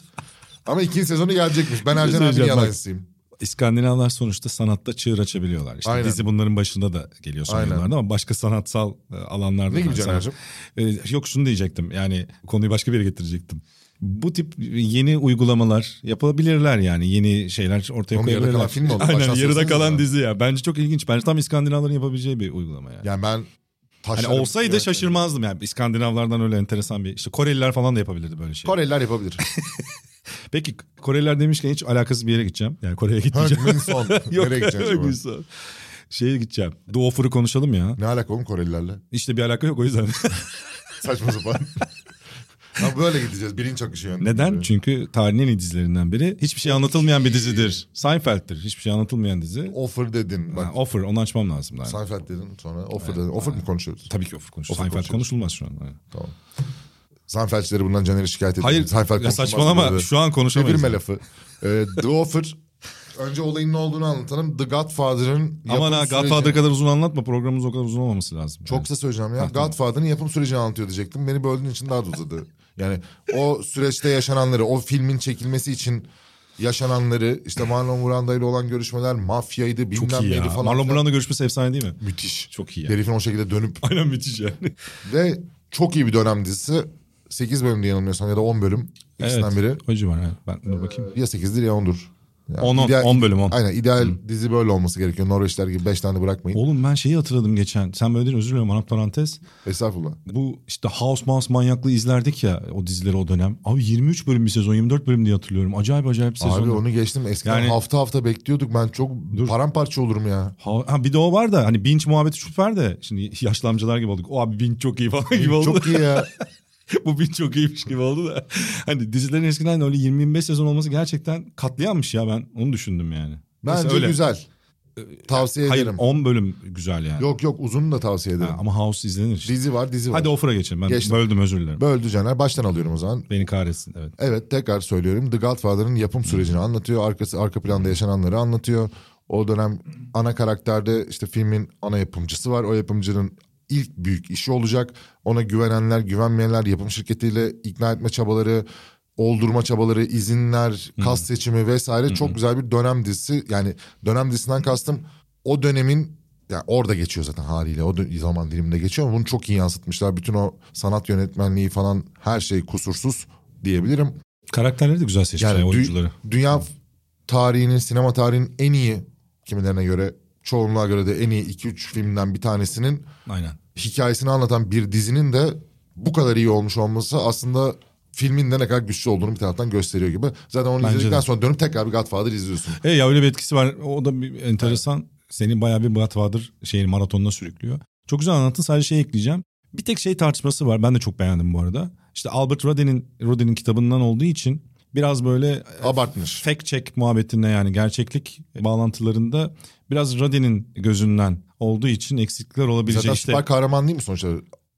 [SPEAKER 3] Ama ikinci sezonu gelecekmiş. Ben
[SPEAKER 2] şey
[SPEAKER 3] Ercan abinin
[SPEAKER 2] söyleyeceğim bak.
[SPEAKER 3] yalancısıyım.
[SPEAKER 2] İskandinavlar sonuçta sanatta çığır açabiliyorlar. İşte
[SPEAKER 3] Aynen.
[SPEAKER 2] dizi bunların başında da geliyor son
[SPEAKER 3] Aynen.
[SPEAKER 2] yıllarda ama başka sanatsal e, alanlarda.
[SPEAKER 3] Ne
[SPEAKER 2] da
[SPEAKER 3] gibi
[SPEAKER 2] mesela-
[SPEAKER 3] Caner'cim?
[SPEAKER 2] E, Yok şunu diyecektim yani konuyu başka bir yere getirecektim. Bu tip yeni uygulamalar yapabilirler yani yeni şeyler ortaya
[SPEAKER 3] Oğlum, yarıda
[SPEAKER 2] koyabilirler.
[SPEAKER 3] kalan film oldu.
[SPEAKER 2] Aynen
[SPEAKER 3] Baştan
[SPEAKER 2] yarıda
[SPEAKER 3] söylesenize
[SPEAKER 2] kalan
[SPEAKER 3] ya.
[SPEAKER 2] dizi ya. Bence çok ilginç. Bence tam İskandinavların yapabileceği bir uygulama yani.
[SPEAKER 3] Yani ben
[SPEAKER 2] Hani
[SPEAKER 3] taşlarım.
[SPEAKER 2] olsaydı
[SPEAKER 3] Evet.
[SPEAKER 2] şaşırmazdım yani. İskandinavlardan öyle enteresan bir işte Koreliler falan da yapabilirdi böyle şey.
[SPEAKER 3] Koreliler yapabilir.
[SPEAKER 2] Peki Koreliler demişken hiç alakasız bir yere gideceğim. Yani Kore'ye gitmeyeceğim.
[SPEAKER 3] Min Son.
[SPEAKER 2] Yok,
[SPEAKER 3] Nereye gideceğiz acaba?
[SPEAKER 2] Gülsün. Şeye gideceğim. Doğu Ofur'u konuşalım ya.
[SPEAKER 3] Ne alaka oğlum Korelilerle?
[SPEAKER 2] İşte bir alaka yok o yüzden.
[SPEAKER 3] Saçma sapan. Ama böyle gideceğiz. Bilinç akışı yani.
[SPEAKER 2] Neden? Çünkü tarihin en iyi dizilerinden biri. Hiçbir şey anlatılmayan bir dizidir. Seinfeld'tir. Hiçbir şey anlatılmayan dizi.
[SPEAKER 3] Offer dedin. Bak
[SPEAKER 2] Ha, offer onu açmam lazım. Yani.
[SPEAKER 3] Seinfeld dedin sonra offer dedin. Offer mi konuşuyoruz?
[SPEAKER 2] Tabii ki offer konuşulur.
[SPEAKER 3] Offer
[SPEAKER 2] Seinfeld
[SPEAKER 3] konuşuruz.
[SPEAKER 2] konuşulmaz şu an. Evet.
[SPEAKER 3] Tamam. Seinfeldçileri bundan Caner'i şikayet ettim.
[SPEAKER 2] Hayır
[SPEAKER 3] Seinfeld
[SPEAKER 2] ya saçmalama şu an konuşamayız.
[SPEAKER 3] Çevirme
[SPEAKER 2] yani.
[SPEAKER 3] lafı. Ee, The Offer. Önce olayın ne olduğunu anlatalım. The Godfather'ın
[SPEAKER 2] Aman ha
[SPEAKER 3] yapım
[SPEAKER 2] Godfather
[SPEAKER 3] süreci-
[SPEAKER 2] kadar uzun anlatma programımız o kadar uzun olmaması lazım.
[SPEAKER 3] Çok kısa söyleyeceğim ya. Godfather'ın yapım sürecini anlatıyor diyecektim. Beni böldüğün için daha da uzadı. Yani o süreçte yaşananları, o filmin çekilmesi için yaşananları, işte Marlon Brando ile olan görüşmeler, mafyaydı, bilmem
[SPEAKER 2] yani. çok iyi
[SPEAKER 3] neydi
[SPEAKER 2] ya.
[SPEAKER 3] falan.
[SPEAKER 2] Marlon
[SPEAKER 3] filan.
[SPEAKER 2] Brando görüşmesi efsane değil mi?
[SPEAKER 3] Müthiş.
[SPEAKER 2] Çok iyi ya.
[SPEAKER 3] Herifin o şekilde dönüp
[SPEAKER 2] Aynen müthiş yani.
[SPEAKER 3] ve çok iyi bir dönem dizisi. 8 bölüm diye yanılmıyorsam ya da 10 bölüm. İkisinden biri.
[SPEAKER 2] O civar ha. Ben dur bakayım.
[SPEAKER 3] Ya 8'dir ya 10'dur. Yani
[SPEAKER 2] 10 10
[SPEAKER 3] ideal-
[SPEAKER 2] 10 bölüm Hmm. 10.
[SPEAKER 3] Aynen ideal dizi böyle olması gerekiyor. Norveçler gibi 5 tane bırakmayın.
[SPEAKER 2] Oğlum ben şeyi hatırladım geçen. Sen böyle dedin özür dilerim Anap Parantez.
[SPEAKER 3] Estağfurullah.
[SPEAKER 2] Bu işte House Mouse manyaklığı izlerdik ya o dizileri o dönem. Abi 23 bölüm bir sezon 24 bölüm diye hatırlıyorum. Acayip acayip sezon.
[SPEAKER 3] Abi onu geçtim. Eskiden
[SPEAKER 2] Yani-
[SPEAKER 3] hafta hafta bekliyorduk. Ben çok paramparça olurum ya.
[SPEAKER 2] Ha, ha, bir de o var da hani binge muhabbeti süper de. Şimdi yaşlı amcalar gibi olduk. O abi binge çok iyi falan gibi oldu.
[SPEAKER 3] Çok iyi ya.
[SPEAKER 2] Bu binge çok iyiymiş gibi oldu da. Hani dizilerin eskiden öyle 20-25 sezon olması gerçekten katliammış ya ben onu düşündüm yani. Neyse,
[SPEAKER 3] Bence
[SPEAKER 2] öyle. Ee,
[SPEAKER 3] güzel. Tavsiye
[SPEAKER 2] Hayır
[SPEAKER 3] ederim.
[SPEAKER 2] 10 bölüm güzel yani.
[SPEAKER 3] Yok yok uzun da tavsiye
[SPEAKER 2] Ha,
[SPEAKER 3] ederim.
[SPEAKER 2] ama House izlenir işte.
[SPEAKER 3] Dizi var dizi var.
[SPEAKER 2] Hadi offer'a geçelim. Ben
[SPEAKER 3] Geçtim.
[SPEAKER 2] böldüm özür dilerim.
[SPEAKER 3] Böldü Caner. Baştan alıyorum o zaman.
[SPEAKER 2] Beni kahretsin evet.
[SPEAKER 3] Evet tekrar söylüyorum. The Godfather'ın yapım sürecini anlatıyor. Arkası arka planda yaşananları anlatıyor. O dönem ana karakterde işte filmin ana yapımcısı var. O yapımcının ilk büyük işi olacak. Ona güvenenler, güvenmeyenler, yapım şirketiyle ikna etme çabaları, oldurma çabaları, izinler, kas seçimi vesaire çok güzel bir dönem dizisi. Yani dönem dizisinden kastım o dönemin yani orada geçiyor zaten haliyle o dö- zaman diliminde geçiyor ama bunu çok iyi yansıtmışlar. Bütün o sanat yönetmenliği falan her şey kusursuz diyebilirim.
[SPEAKER 2] Karakterleri de güzel seçmişler
[SPEAKER 3] Yani dü-
[SPEAKER 2] şey, oyuncuları.
[SPEAKER 3] Dünya tarihinin, sinema tarihinin en iyi kimilerine göre, çoğunluğa göre de en iyi 2-3 filmden bir tanesinin
[SPEAKER 2] Aynen.
[SPEAKER 3] hikayesini anlatan bir dizinin de bu kadar iyi olmuş olması aslında filmin de ne kadar güçlü olduğunu bir taraftan gösteriyor gibi. Zaten onu
[SPEAKER 2] Bence
[SPEAKER 3] izledikten
[SPEAKER 2] de.
[SPEAKER 3] sonra dönüp tekrar bir Godfather izliyorsun.
[SPEAKER 2] E ya öyle bir etkisi var. O da bir enteresan. Seni bayağı bir Godfather şeyin maratonuna sürüklüyor. Çok güzel anlattın. Sadece şey ekleyeceğim. Bir tek şey tartışması var. Ben de çok beğendim bu arada. İşte Albert Rodin'in Rodin'in kitabından olduğu için biraz böyle e,
[SPEAKER 3] Abartmış.
[SPEAKER 2] fact check muhabbetinde yani gerçeklik bağlantılarında biraz Rodin'in gözünden olduğu için eksiklikler olabilecek
[SPEAKER 3] Zaten
[SPEAKER 2] şey işte.
[SPEAKER 3] süper kahraman değil mi sonuçta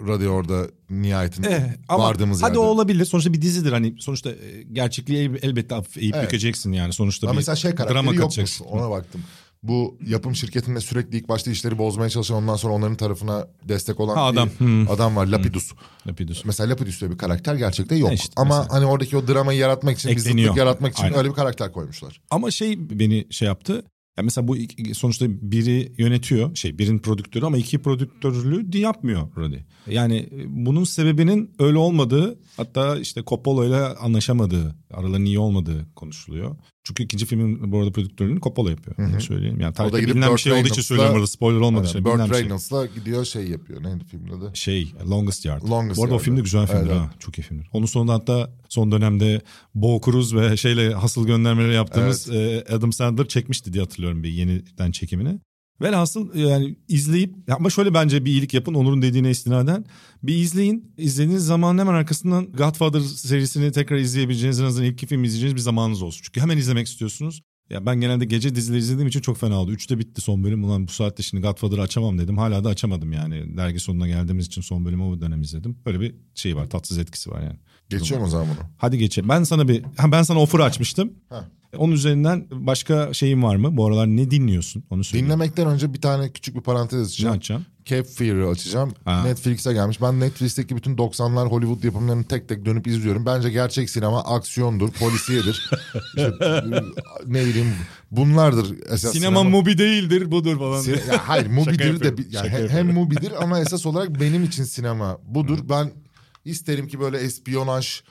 [SPEAKER 3] radyo orada nihayetinde
[SPEAKER 2] Eh, ama
[SPEAKER 3] vardığımız
[SPEAKER 2] hadi
[SPEAKER 3] yerde.
[SPEAKER 2] o olabilir. Sonuçta bir dizidir hani sonuçta e, gerçekliği el- elbette hafif eğip
[SPEAKER 3] Evet.
[SPEAKER 2] bükeceksin yani sonuçta
[SPEAKER 3] Ama
[SPEAKER 2] bir
[SPEAKER 3] mesela şey karakteri
[SPEAKER 2] drama
[SPEAKER 3] yokmuş.
[SPEAKER 2] katacaksın.
[SPEAKER 3] Ona baktım. Bu yapım şirketinde sürekli ilk başta işleri bozmaya çalışan ondan sonra onların tarafına destek olan
[SPEAKER 2] Ha,
[SPEAKER 3] bir
[SPEAKER 2] adam. Hmm.
[SPEAKER 3] adam var. Lapidus.
[SPEAKER 2] Lapidus.
[SPEAKER 3] Mesela Lapidus diye bir karakter gerçekte yok.
[SPEAKER 2] E işte
[SPEAKER 3] Ama
[SPEAKER 2] mesela.
[SPEAKER 3] hani oradaki o dramayı yaratmak için, bir
[SPEAKER 2] Ekleniyor.
[SPEAKER 3] zıtlık yaratmak için
[SPEAKER 2] Aynen.
[SPEAKER 3] öyle bir karakter koymuşlar.
[SPEAKER 2] Ama şey beni şey yaptı. Ya mesela bu iki- sonuçta biri yönetiyor şey birinin prodüktörü ama iki prodüktörlüğü de yapmıyor Roddy. Yani e, bunun sebebinin öyle olmadığı hatta işte Coppola ile anlaşamadığı aralarının iyi olmadığı konuşuluyor. Çünkü ikinci filmin bu arada prodüktörlüğünü Coppola yapıyor.
[SPEAKER 3] Hı hı.
[SPEAKER 2] Yani söyleyelim. Yani
[SPEAKER 3] O da
[SPEAKER 2] tarihte
[SPEAKER 3] gidip
[SPEAKER 2] bilinen bir
[SPEAKER 3] Burt
[SPEAKER 2] şey olduğu için
[SPEAKER 3] Reynolds'la-
[SPEAKER 2] söylüyorum burada. Spoiler olmadığı
[SPEAKER 3] Aynen.
[SPEAKER 2] için
[SPEAKER 3] Burt
[SPEAKER 2] bilinen bir şey.
[SPEAKER 3] Reynolds'la gidiyor şey yapıyor. Neydi filmin adı?
[SPEAKER 2] şey Longest Yard.
[SPEAKER 3] Longest
[SPEAKER 2] Bu arada
[SPEAKER 3] Yard'ı.
[SPEAKER 2] o film de güzel filmdir
[SPEAKER 3] Evet.
[SPEAKER 2] ha. Çok iyi filmdir. Onun sonunda hatta son dönemde Bo Cruz ve şeyle hasıl göndermeleri yaptığımız e, Adam Sandler çekmişti diye hatırlıyorum bir yeniden çekimini. Velhasıl e, yani izleyip ama şöyle bence bir iyilik yapın Onur'un dediğine istinaden bir izleyin. İzlediğiniz zaman hemen arkasından Godfather serisini tekrar izleyebileceğiniz en azından ilk iki film izleyeceğiniz bir zamanınız olsun. Çünkü hemen izlemek istiyorsunuz. Ya ben genelde gece dizileri izlediğim için çok fena oldu. Üçte bitti son bölüm. Ulan bu saatte şimdi Godfather'ı açamam dedim. Hala da açamadım yani. Dergi sonuna geldiğimiz için son bölümü o dönem izledim. Böyle bir şey var. Tatsız etkisi var yani.
[SPEAKER 3] Geçiyorum o zaman bunu.
[SPEAKER 2] Hadi geçelim. Ben sana bir ha, ben sana offer açmıştım.
[SPEAKER 3] Heh.
[SPEAKER 2] Onun üzerinden başka şeyin var mı? Bu aralar ne dinliyorsun? Onu söyle.
[SPEAKER 3] Dinlemekten önce bir tane küçük bir parantez
[SPEAKER 2] Ne
[SPEAKER 3] açacağım.
[SPEAKER 2] açacağım?
[SPEAKER 3] Cap Fear'ı açacağım.
[SPEAKER 2] Ha.
[SPEAKER 3] Netflix'e gelmiş. Ben Netflix'teki bütün 90'lar Hollywood yapımlarını tek tek dönüp izliyorum. Bence gerçek sinema aksiyondur, polisiyedir. İşte, ne bileyim bunlardır esas
[SPEAKER 2] Sinema Mubi değildir budur falan. diye.
[SPEAKER 3] Sin- ya hayır Mubi'dir de
[SPEAKER 2] yapıyorum,
[SPEAKER 3] bi- yani
[SPEAKER 2] şaka
[SPEAKER 3] he- hem
[SPEAKER 2] yapıyorum.
[SPEAKER 3] Mubi'dir ama esas olarak benim için sinema budur. Ben isterim ki böyle espiyonaj,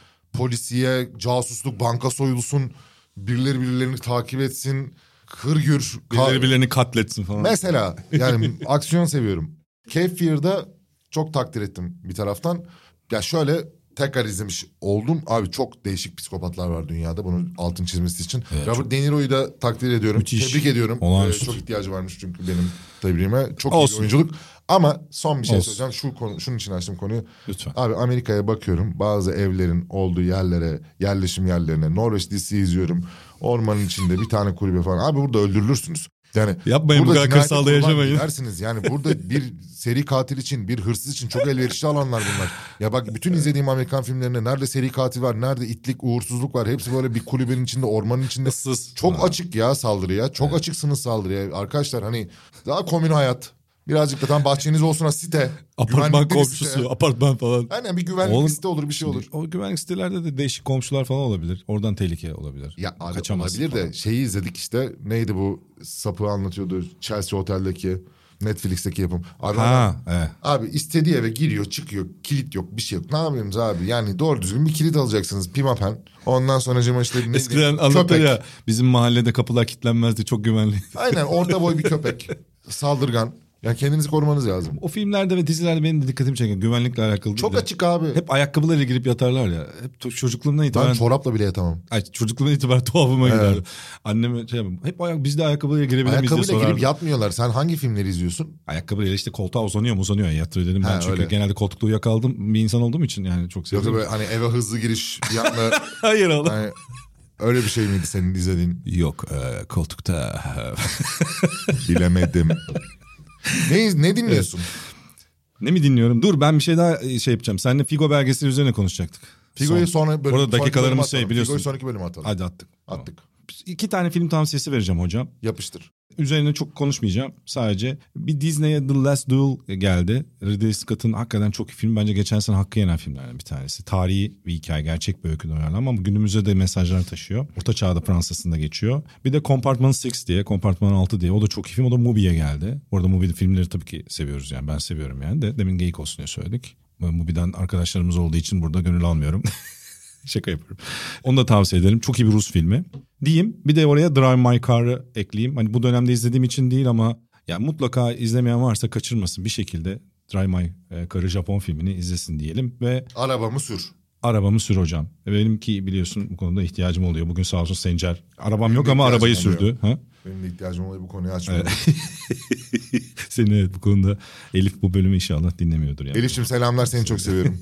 [SPEAKER 3] polisiye, casusluk, banka soyulsun, birileri birilerini takip etsin, hırgür, ka-
[SPEAKER 2] Birileri birilerini katletsin falan.
[SPEAKER 3] Mesela yani aksiyon seviyorum. Kefir'de çok takdir ettim bir taraftan. Ya şöyle tekrar izlemiş oldum. Abi çok değişik psikopatlar var dünyada bunun altın çizmesi için. Robert De Niro'yu da takdir ediyorum.
[SPEAKER 2] Müthiş.
[SPEAKER 3] Tebrik ediyorum.
[SPEAKER 2] Olağanüstü.
[SPEAKER 3] Ee, çok ihtiyacı varmış çünkü benim tebriğime. Çok iyi
[SPEAKER 2] Olsun.
[SPEAKER 3] bir oyunculuk. Ama son bir şey
[SPEAKER 2] Olsun.
[SPEAKER 3] söyleyeceğim. Şu konu, şunun için açtım konuyu.
[SPEAKER 2] Lütfen.
[SPEAKER 3] Abi Amerika'ya bakıyorum. Bazı evlerin olduğu yerlere, yerleşim yerlerine. Norveç dizisi izliyorum. Ormanın içinde bir tane kulübe falan. Abi burada öldürülürsünüz. Yani
[SPEAKER 2] Yapmayın bu
[SPEAKER 3] Burada
[SPEAKER 2] kadar
[SPEAKER 3] cinayete
[SPEAKER 2] kırsalda
[SPEAKER 3] kurban
[SPEAKER 2] yaşamayın.
[SPEAKER 3] gidersiniz. Yani burada bir seri katil için, bir hırsız için çok elverişli alanlar bunlar. Ya bak bütün izlediğim Amerikan filmlerinde nerede seri katil var, nerede itlik, uğursuzluk var. Hepsi böyle bir kulübenin içinde, ormanın içinde.
[SPEAKER 2] Issız.
[SPEAKER 3] Çok
[SPEAKER 2] Ha.
[SPEAKER 3] açık ya saldırıya. Çok açıksınız saldırıya. Arkadaşlar hani daha komün hayat. Birazcık da tam bahçeniz olsun ha site.
[SPEAKER 2] Apartman
[SPEAKER 3] Güvenlikli bir site.
[SPEAKER 2] komşusu, apartman falan.
[SPEAKER 3] Aynen bir güvenlik
[SPEAKER 2] Oğlum,
[SPEAKER 3] site olur bir şey olur.
[SPEAKER 2] O güvenlik sitelerde de değişik komşular falan olabilir. Oradan tehlike olabilir.
[SPEAKER 3] Ya abi
[SPEAKER 2] Kaçamazsın
[SPEAKER 3] olabilir de
[SPEAKER 2] falan.
[SPEAKER 3] şeyi izledik işte. Neydi bu sapı anlatıyordu Chelsea Otel'deki Netflix'teki yapım. Abi
[SPEAKER 2] Ha, evet.
[SPEAKER 3] Abi istediği eve giriyor çıkıyor kilit yok bir şey yok. Ne yapıyorsunuz abi yani doğru düzgün bir kilit alacaksınız pimapen. Ondan sonra cama işte ne
[SPEAKER 2] Eskiden
[SPEAKER 3] diyeyim,
[SPEAKER 2] anlatır
[SPEAKER 3] köpek.
[SPEAKER 2] ya bizim mahallede kapılar kilitlenmezdi çok güvenli.
[SPEAKER 3] Aynen orta boy bir köpek saldırgan. Ya kendinizi korumanız lazım.
[SPEAKER 2] O filmlerde ve dizilerde benim de dikkatimi çeken güvenlikle alakalı.
[SPEAKER 3] Çok
[SPEAKER 2] değil de.
[SPEAKER 3] açık abi.
[SPEAKER 2] Hep ayakkabılarıyla girip yatarlar ya. Hep to- çocukluğumdan
[SPEAKER 3] ben
[SPEAKER 2] itibaren.
[SPEAKER 3] çorapla bile yatamam.
[SPEAKER 2] Ay, çocukluğumdan itibaren tuhafıma
[SPEAKER 3] Evet.
[SPEAKER 2] giderdi. Anneme şey yapayım. Hep ayak, biz de ayakkabıyla girebilir miyiz diye
[SPEAKER 3] Ayakkabıyla
[SPEAKER 2] sorardı.
[SPEAKER 3] girip yatmıyorlar. Sen hangi filmleri izliyorsun?
[SPEAKER 2] Ayakkabıyla işte koltuğa uzanıyor mu uzanıyor ya yatıyor dedim. Ben
[SPEAKER 3] Ha,
[SPEAKER 2] çünkü
[SPEAKER 3] öyle.
[SPEAKER 2] genelde koltukta uyuyakaldım. Bir insan olduğum için yani çok
[SPEAKER 3] Yoksa
[SPEAKER 2] seviyorum.
[SPEAKER 3] böyle hani eve hızlı giriş bir anda
[SPEAKER 2] Hayır oğlum.
[SPEAKER 3] hani öyle bir şey miydi senin izlediğin?
[SPEAKER 2] Yok e, koltukta.
[SPEAKER 3] Bilemedim. ne, ne dinliyorsun?
[SPEAKER 2] ne mi dinliyorum? Dur ben bir şey daha e, şey yapacağım. Seninle Figo belgeseli üzerine konuşacaktık.
[SPEAKER 3] Figo'yu
[SPEAKER 2] Son-
[SPEAKER 3] sonra bölüm,
[SPEAKER 2] Orada
[SPEAKER 3] sonraki
[SPEAKER 2] dakikalarımız
[SPEAKER 3] bölüme
[SPEAKER 2] şey,
[SPEAKER 3] atalım.
[SPEAKER 2] biliyorsun.
[SPEAKER 3] Figo'yu sonraki bölüme atalım.
[SPEAKER 2] Hadi attık. Tamam.
[SPEAKER 3] Attık.
[SPEAKER 2] İki tane film tavsiyesi vereceğim hocam.
[SPEAKER 3] Yapıştır.
[SPEAKER 2] Üzerine çok konuşmayacağım. Sadece bir Disney'e The Last Duel geldi. Ridley Scott'ın hakikaten çok iyi film. Bence geçen sene hakkı yenen filmlerden bir tanesi. Tarihi bir hikaye, gerçek bir öyküden uyarlanma ama günümüze de mesajlar taşıyor. Orta Çağ'da Fransa'sında geçiyor. Bir de Compartment 6 diye, Compartment 6 diye. O da çok iyi film. O da Mubi'ye geldi. Orada Mubi'nin filmleri tabii ki seviyoruz yani. Ben seviyorum yani de. Demin geyik olsun diye söyledik. Bu Mubi'den arkadaşlarımız olduğu için burada gönül almıyorum. Şaka yapıyorum. Onu da tavsiye ederim. Çok iyi bir Rus filmi. Diyeyim bir de oraya Drive My Car'ı ekleyeyim. Hani bu dönemde izlediğim için değil ama ya mutlaka izlemeyen varsa kaçırmasın bir şekilde. Drive My e, Car'ı Japon filmini izlesin diyelim ve
[SPEAKER 3] Arabamı sür.
[SPEAKER 2] arabamı sür hocam. Benimki biliyorsun bu konuda ihtiyacım oluyor. Bugün sağ olsun Sencer. Arabam yok
[SPEAKER 3] de
[SPEAKER 2] ama arabayı
[SPEAKER 3] ihtiyacım
[SPEAKER 2] sürdü. Ha?
[SPEAKER 3] Benim de ihtiyacım oluyor bu konuyu açmaya.
[SPEAKER 2] Senin evet bu konuda Elif bu bölümü inşallah dinlemiyordur yani.
[SPEAKER 3] Elif'ciğim selamlar seni çok seviyorum.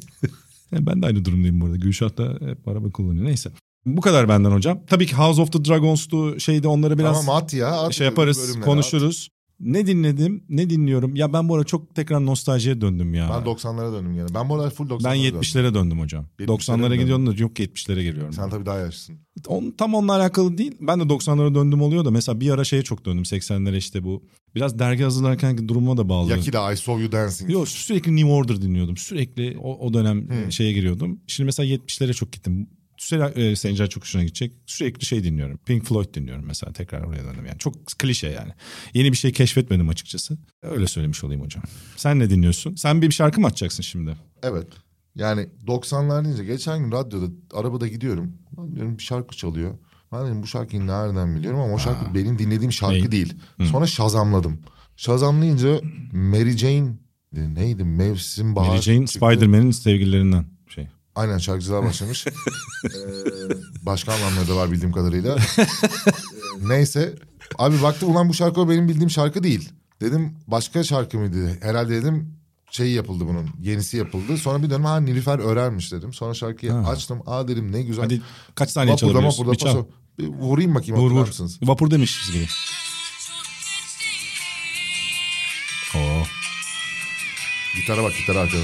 [SPEAKER 2] Yani ben de aynı durumdayım bu arada. Gülşah da hep araba kullanıyor. Neyse. Bu kadar benden hocam. Tabii ki House of the Dragons'tu şeydi onları biraz
[SPEAKER 3] Tamam at ya. At
[SPEAKER 2] şey
[SPEAKER 3] bu
[SPEAKER 2] yaparız
[SPEAKER 3] bölümleri,
[SPEAKER 2] konuşuruz. Ne dinledim ne dinliyorum. Ya ben bu ara çok tekrar nostaljiye döndüm ya.
[SPEAKER 3] at.
[SPEAKER 2] Ben,
[SPEAKER 3] Ben 90'lara döndüm gene. Ben bu arada full 90'lara döndüm.
[SPEAKER 2] 70'lere döndüm hocam.
[SPEAKER 3] 70'lere
[SPEAKER 2] 90'lara
[SPEAKER 3] mi
[SPEAKER 2] gidiyordum da yok 70'lere geliyorum.
[SPEAKER 3] Sen tabii daha yaşlısın.
[SPEAKER 2] On, tam onunla alakalı değil. Ben de 90'lara döndüm oluyor da mesela bir ara şeye çok döndüm 80'lere işte bu. Biraz dergi hazırlarken durumuma da bağlı.
[SPEAKER 3] Yaki de I Saw You Dancing.
[SPEAKER 2] Yok sürekli New Order dinliyordum. Sürekli o, o dönem
[SPEAKER 3] Hmm.
[SPEAKER 2] e, şeye giriyordum. Şimdi mesela 70'lere çok gittim. Süre, e, Sencer çok hoşuna gidecek. Sürekli şey dinliyorum. Pink Floyd dinliyorum mesela tekrar oraya döndüm yani. Çok klişe yani. Yeni bir şey keşfetmedim açıkçası. Öyle söylemiş olayım hocam. Sen ne dinliyorsun? Sen bir şarkı mı açacaksın şimdi?
[SPEAKER 3] Evet. Yani 90'lar deyince geçen gün radyoda arabada gidiyorum. Lan Diyorum bir şarkı çalıyor. Ben dedim bu şarkıyı nereden biliyorum ama o şarkı benim dinlediğim şarkı
[SPEAKER 2] Ney?
[SPEAKER 3] değil. Sonra şazamladım. Şazamlayınca Mary Jane e, neydi mevsim bahar.
[SPEAKER 2] Mary Jane
[SPEAKER 3] çıktı.
[SPEAKER 2] Spider-Man'in sevgililerinden şey.
[SPEAKER 3] Aynen şarkıcılar başlamış. Ee, başka anlamları da var bildiğim kadarıyla. Ee, Neyse. Abi baktım ulan bu şarkı o benim bildiğim şarkı değil. Dedim başka şarkı mıydı? Herhalde dedim şey yapıldı bunun. Yenisi yapıldı. Sonra bir dönem ha Nilüfer örermiş dedim. Sonra şarkıyı
[SPEAKER 2] Ha.
[SPEAKER 3] açtım. Aa dedim ne güzel.
[SPEAKER 2] Hadi kaç saniye
[SPEAKER 3] Vapurda
[SPEAKER 2] çalabiliyorsun?
[SPEAKER 3] vapurda
[SPEAKER 2] Bir çal.
[SPEAKER 3] paso. Bir vurayım bakayım
[SPEAKER 2] Vur
[SPEAKER 3] hatırlar
[SPEAKER 2] vur.
[SPEAKER 3] mısınız?
[SPEAKER 2] Vapur demişiz gibi. Oo.
[SPEAKER 3] Gitara bak gitara arkada.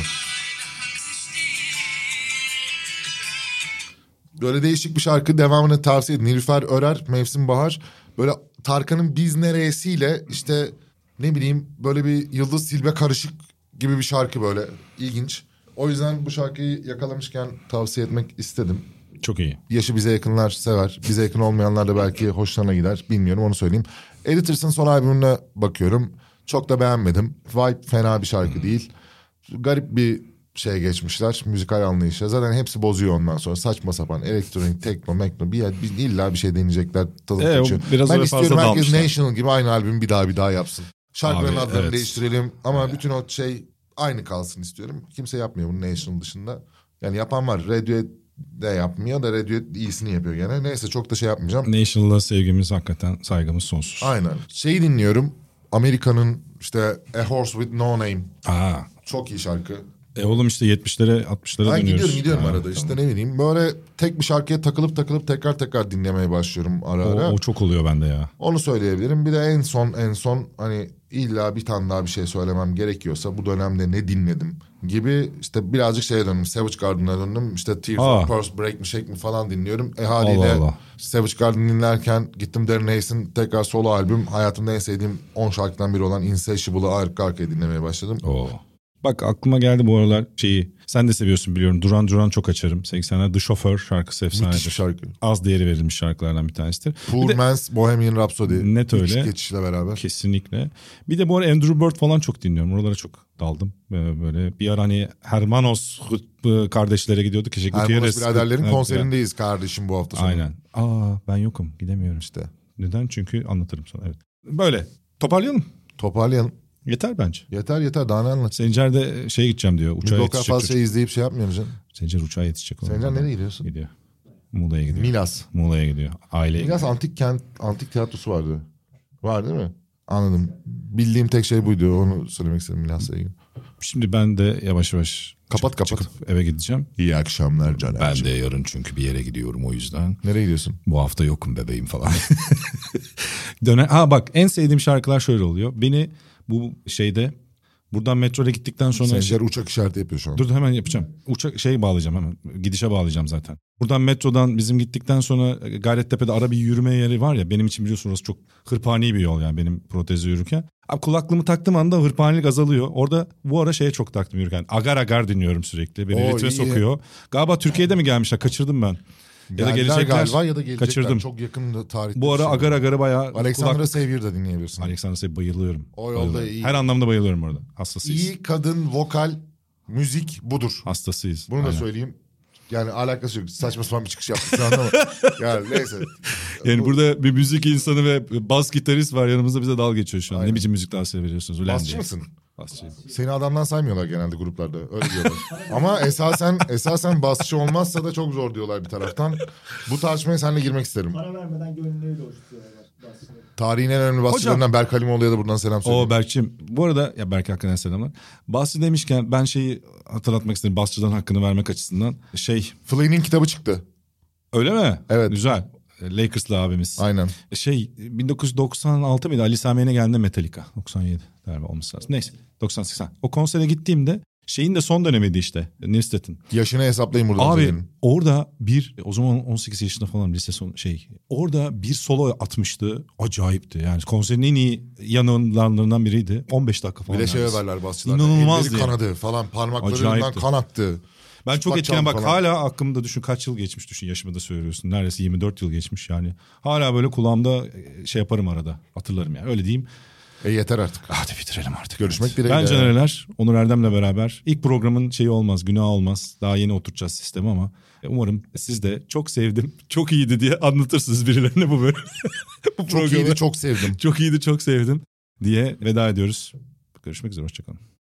[SPEAKER 3] Böyle değişik bir şarkı devamını tavsiye ederim. Nilüfer Örer, Mevsim Bahar. Böyle Tarkan'ın Biz Neresi'yle işte ne bileyim böyle bir Yıldız Silbe karışık gibi bir şarkı böyle. ilginç. O yüzden bu şarkıyı yakalamışken tavsiye etmek istedim.
[SPEAKER 2] Çok iyi.
[SPEAKER 3] Yaşı bize yakınlar sever. Bize yakın olmayanlar da belki hoşlarına gider. Bilmiyorum onu söyleyeyim. Editors'ın son albümüne bakıyorum. Çok da beğenmedim. Vibe fena bir şarkı
[SPEAKER 2] Hmm.
[SPEAKER 3] değil. Garip bir şeye geçmişler. Müzikal anlayışa. Zaten hepsi bozuyor ondan sonra. Saçma sapan elektronik, tekno, mekno. Bir, yer- bir, illa bir şey deneyecekler. Tadım
[SPEAKER 2] Ee, o
[SPEAKER 3] kaçıyor.
[SPEAKER 2] biraz
[SPEAKER 3] ben
[SPEAKER 2] oraya
[SPEAKER 3] istiyorum
[SPEAKER 2] fazla
[SPEAKER 3] herkes
[SPEAKER 2] dalmışlar.
[SPEAKER 3] National gibi aynı albümü bir daha bir daha yapsın. Şarkıların
[SPEAKER 2] Abi,
[SPEAKER 3] adlarını
[SPEAKER 2] evet.
[SPEAKER 3] değiştirelim. Ama bütün o şey aynı kalsın istiyorum. Kimse yapmıyor bunu National dışında. Yani yapan var. Radiohead de yapmıyor da Radiohead iyisini yapıyor gene. Neyse çok da şey yapmayacağım.
[SPEAKER 2] National'a sevgimiz hakikaten saygımız sonsuz.
[SPEAKER 3] Aynen. Şeyi dinliyorum. Amerika'nın işte A Horse With No Name.
[SPEAKER 2] Aa.
[SPEAKER 3] Çok iyi şarkı.
[SPEAKER 2] E oğlum işte 70'lere 60'lara
[SPEAKER 3] Ben
[SPEAKER 2] dönüyoruz.
[SPEAKER 3] gidiyorum gidiyorum
[SPEAKER 2] Ha,
[SPEAKER 3] arada işte ne bileyim. Böyle tek bir şarkıya takılıp takılıp tekrar tekrar dinlemeye başlıyorum ara
[SPEAKER 2] O,
[SPEAKER 3] ara.
[SPEAKER 2] o çok oluyor bende ya.
[SPEAKER 3] Onu söyleyebilirim. Bir de en son en son hani illa bir tane daha bir şey söylemem gerekiyorsa bu dönemde ne dinledim gibi işte birazcık şeye döndüm. Savage Garden'a döndüm. İşte Tears
[SPEAKER 2] Aa.
[SPEAKER 3] of Pearls Break mi Shake mi falan dinliyorum. E haliyle
[SPEAKER 2] Allah Allah.
[SPEAKER 3] Savage Garden dinlerken gittim Darren Hayes'in tekrar solo albüm. Hayatımda en sevdiğim 10 şarkıdan biri olan Insatiable'ı arka arkaya dinlemeye başladım.
[SPEAKER 2] Oo. Bak aklıma geldi bu aralar şeyi. Sen de seviyorsun biliyorum. Duran Duran çok açarım. 80'ler The Chauffeur şarkısı
[SPEAKER 3] Müthiş bir
[SPEAKER 2] efsanedir.
[SPEAKER 3] şarkı.
[SPEAKER 2] Az değeri verilmiş şarkılardan bir tanesidir.
[SPEAKER 3] Poor Man's Bohemian Rhapsody.
[SPEAKER 2] Net
[SPEAKER 3] Üç
[SPEAKER 2] öyle.
[SPEAKER 3] geçişle beraber.
[SPEAKER 2] Kesinlikle. Bir de bu ara Andrew Bird falan çok dinliyorum. Oralara çok daldım. Ee, Böyle bir ara hani Hermanos e, kardeşlere gidiyorduk. İşte
[SPEAKER 3] Ermanos
[SPEAKER 2] Gutierrez-
[SPEAKER 3] biraderlerin
[SPEAKER 2] Evet,
[SPEAKER 3] konserindeyiz kardeşim bu hafta sonu.
[SPEAKER 2] Aynen. Aa ben yokum gidemiyorum.
[SPEAKER 3] İşte
[SPEAKER 2] Neden? Çünkü anlatırım sana. Evet. Böyle. Toparlayalım.
[SPEAKER 3] toparlayalım.
[SPEAKER 2] Yeter bence.
[SPEAKER 3] Yeter yeter daha ne anlat.
[SPEAKER 2] Sencer de e, şeye gideceğim diyor. Uçağa
[SPEAKER 3] Midoka
[SPEAKER 2] yetişecek.
[SPEAKER 3] fazla
[SPEAKER 2] çocuk.
[SPEAKER 3] şey izleyip şey yapmıyorsun canım.
[SPEAKER 2] Sencer uçağa yetişecek. oğlum.
[SPEAKER 3] Sencer nereye gidiyorsun?
[SPEAKER 2] Gidiyor. Muğla'ya gidiyor.
[SPEAKER 3] Milas.
[SPEAKER 2] Muğla'ya gidiyor. Aileye gidiyor.
[SPEAKER 3] Milas antik kent, antik tiyatrosu vardı. Var değil mi? Anladım. Bildiğim tek şey buydu. Onu söylemek istedim Milas'la ilgili.
[SPEAKER 2] Şimdi ben de yavaş yavaş
[SPEAKER 3] Kapat, kapat.
[SPEAKER 2] çıkıp eve gideceğim.
[SPEAKER 3] İyi akşamlar Caner.
[SPEAKER 2] de yarın çünkü bir yere gidiyorum o yüzden.
[SPEAKER 3] Nereye gidiyorsun?
[SPEAKER 2] Bu hafta yokum bebeğim falan. Döner. Ha bak en sevdiğim şarkılar şöyle oluyor. Beni bu şeyde buradan metroya gittikten sonra şey-
[SPEAKER 3] Sencer uçak işareti yapıyor şu an.
[SPEAKER 2] Dur hemen yapacağım. Uçak şey bağlayacağım hemen. Gidişe bağlayacağım zaten. Buradan metrodan bizim gittikten sonra e, Gayrettepe'de ara bir yürüme yeri var ya. Benim için biliyorsunuz orası çok hırpani bir yol yani benim protezi yürürken. Abi kulaklığımı taktığım anda hırpanilik azalıyor. Orada bu ara şeye çok taktım yürürken. Agar agar dinliyorum sürekli. Beni
[SPEAKER 3] Oo,
[SPEAKER 2] ritme
[SPEAKER 3] iyi.
[SPEAKER 2] sokuyor. Galiba Türkiye'de mi gelmişler? Kaçırdım ben. Ya da
[SPEAKER 3] Geldiler
[SPEAKER 2] gelecekler.
[SPEAKER 3] galiba ya da gelecekler.
[SPEAKER 2] Kaçırdım.
[SPEAKER 3] Çok yakın da tarihte.
[SPEAKER 2] Bu
[SPEAKER 3] bir
[SPEAKER 2] ara
[SPEAKER 3] şey
[SPEAKER 2] agar
[SPEAKER 3] var.
[SPEAKER 2] agarı bayağı...
[SPEAKER 3] Alexandra
[SPEAKER 2] kulak-
[SPEAKER 3] Savior da dinleyebilirsin.
[SPEAKER 2] Alexander Say'ı bayılıyorum.
[SPEAKER 3] O yolda
[SPEAKER 2] Bayılıyorum.
[SPEAKER 3] iyi.
[SPEAKER 2] Her anlamda bayılıyorum orada. Hastasıyız.
[SPEAKER 3] İyi kadın vokal müzik budur.
[SPEAKER 2] Hastasıyız.
[SPEAKER 3] Bunu da
[SPEAKER 2] Aynen.
[SPEAKER 3] söyleyeyim. Yani alakası yok. Saçma sapan bir çıkış yaptım şu anda ama. yani neyse.
[SPEAKER 2] Yani
[SPEAKER 3] Bu-
[SPEAKER 2] burada bir müzik insanı ve bas gitarist var yanımızda bize dal geçiyor şu an.
[SPEAKER 3] Aynen.
[SPEAKER 2] Ne biçim müzik tavsiye veriyorsunuz? Ulan
[SPEAKER 3] Basçı
[SPEAKER 2] diye.
[SPEAKER 3] mısın?
[SPEAKER 2] Basçıyım.
[SPEAKER 3] Seni adamdan saymıyorlar genelde gruplarda. Öyle diyorlar. Ama esasen esasen basçı olmazsa da çok zor diyorlar bir taraftan. Bu tartışmaya seninle girmek isterim.
[SPEAKER 4] Para vermeden gönlünü oluşturuyorlar aslında.
[SPEAKER 3] Tarihin en önemli basçılarından Berk Halimoğlu'ya da buradan selam söyleyeyim.
[SPEAKER 2] Oo Berk'cim. Bu arada ya Berk hakikaten selamlar. Basçı demişken ben şeyi hatırlatmak istedim. Basçıdan hakkını vermek açısından. Şey
[SPEAKER 3] Flynn'in kitabı çıktı.
[SPEAKER 2] öyle mi?
[SPEAKER 3] Evet.
[SPEAKER 2] Güzel. Lakers'lı abimiz.
[SPEAKER 3] Aynen.
[SPEAKER 2] Şey 1996 mıydı? Ali Sami'ye geldiğinde Metallica. 97 galiba olması lazım. Neyse 90-80. O konsere gittiğimde şeyin de son dönemiydi işte. Nistet'in.
[SPEAKER 3] Yaşını hesaplayın buradan.
[SPEAKER 2] Abi
[SPEAKER 3] Flynn'in.
[SPEAKER 2] orada bir o zaman 18 yaşında falan lise son şey orada bir solo atmıştı acayipti yani konserin en iyi yanılanlarından biriydi 15 dakika falan.
[SPEAKER 3] Bir de şey
[SPEAKER 2] neredeyse.
[SPEAKER 3] överler basçılar.
[SPEAKER 2] İnanılmaz
[SPEAKER 3] Elleri
[SPEAKER 2] diye.
[SPEAKER 3] kanadı falan parmaklarından
[SPEAKER 2] Acayipti.
[SPEAKER 3] kan aktı.
[SPEAKER 2] Ben çok
[SPEAKER 3] Bak
[SPEAKER 2] etkilen
[SPEAKER 3] çaldı
[SPEAKER 2] bak
[SPEAKER 3] falan.
[SPEAKER 2] hala aklımda düşün kaç yıl geçmiş düşün yaşımı da söylüyorsun neredeyse 24 yıl geçmiş yani hala böyle kulağımda e, şey yaparım arada hatırlarım yani öyle diyeyim.
[SPEAKER 3] E yeter artık.
[SPEAKER 2] Hadi bitirelim artık.
[SPEAKER 3] Görüşmek
[SPEAKER 2] Evet.
[SPEAKER 3] dileğiyle.
[SPEAKER 2] Bence neler? Onur Erdem'le beraber. ilk programın şeyi olmaz, günahı olmaz. Daha yeni oturtacağız sistemi ama umarım siz de çok sevdim, çok iyiydi diye anlatırsınız birilerine bu bölümü. bu
[SPEAKER 3] Çok iyiydi çok sevdim.
[SPEAKER 2] çok iyiydi, çok sevdim diye veda ediyoruz. Görüşmek üzere, hoşçakalın.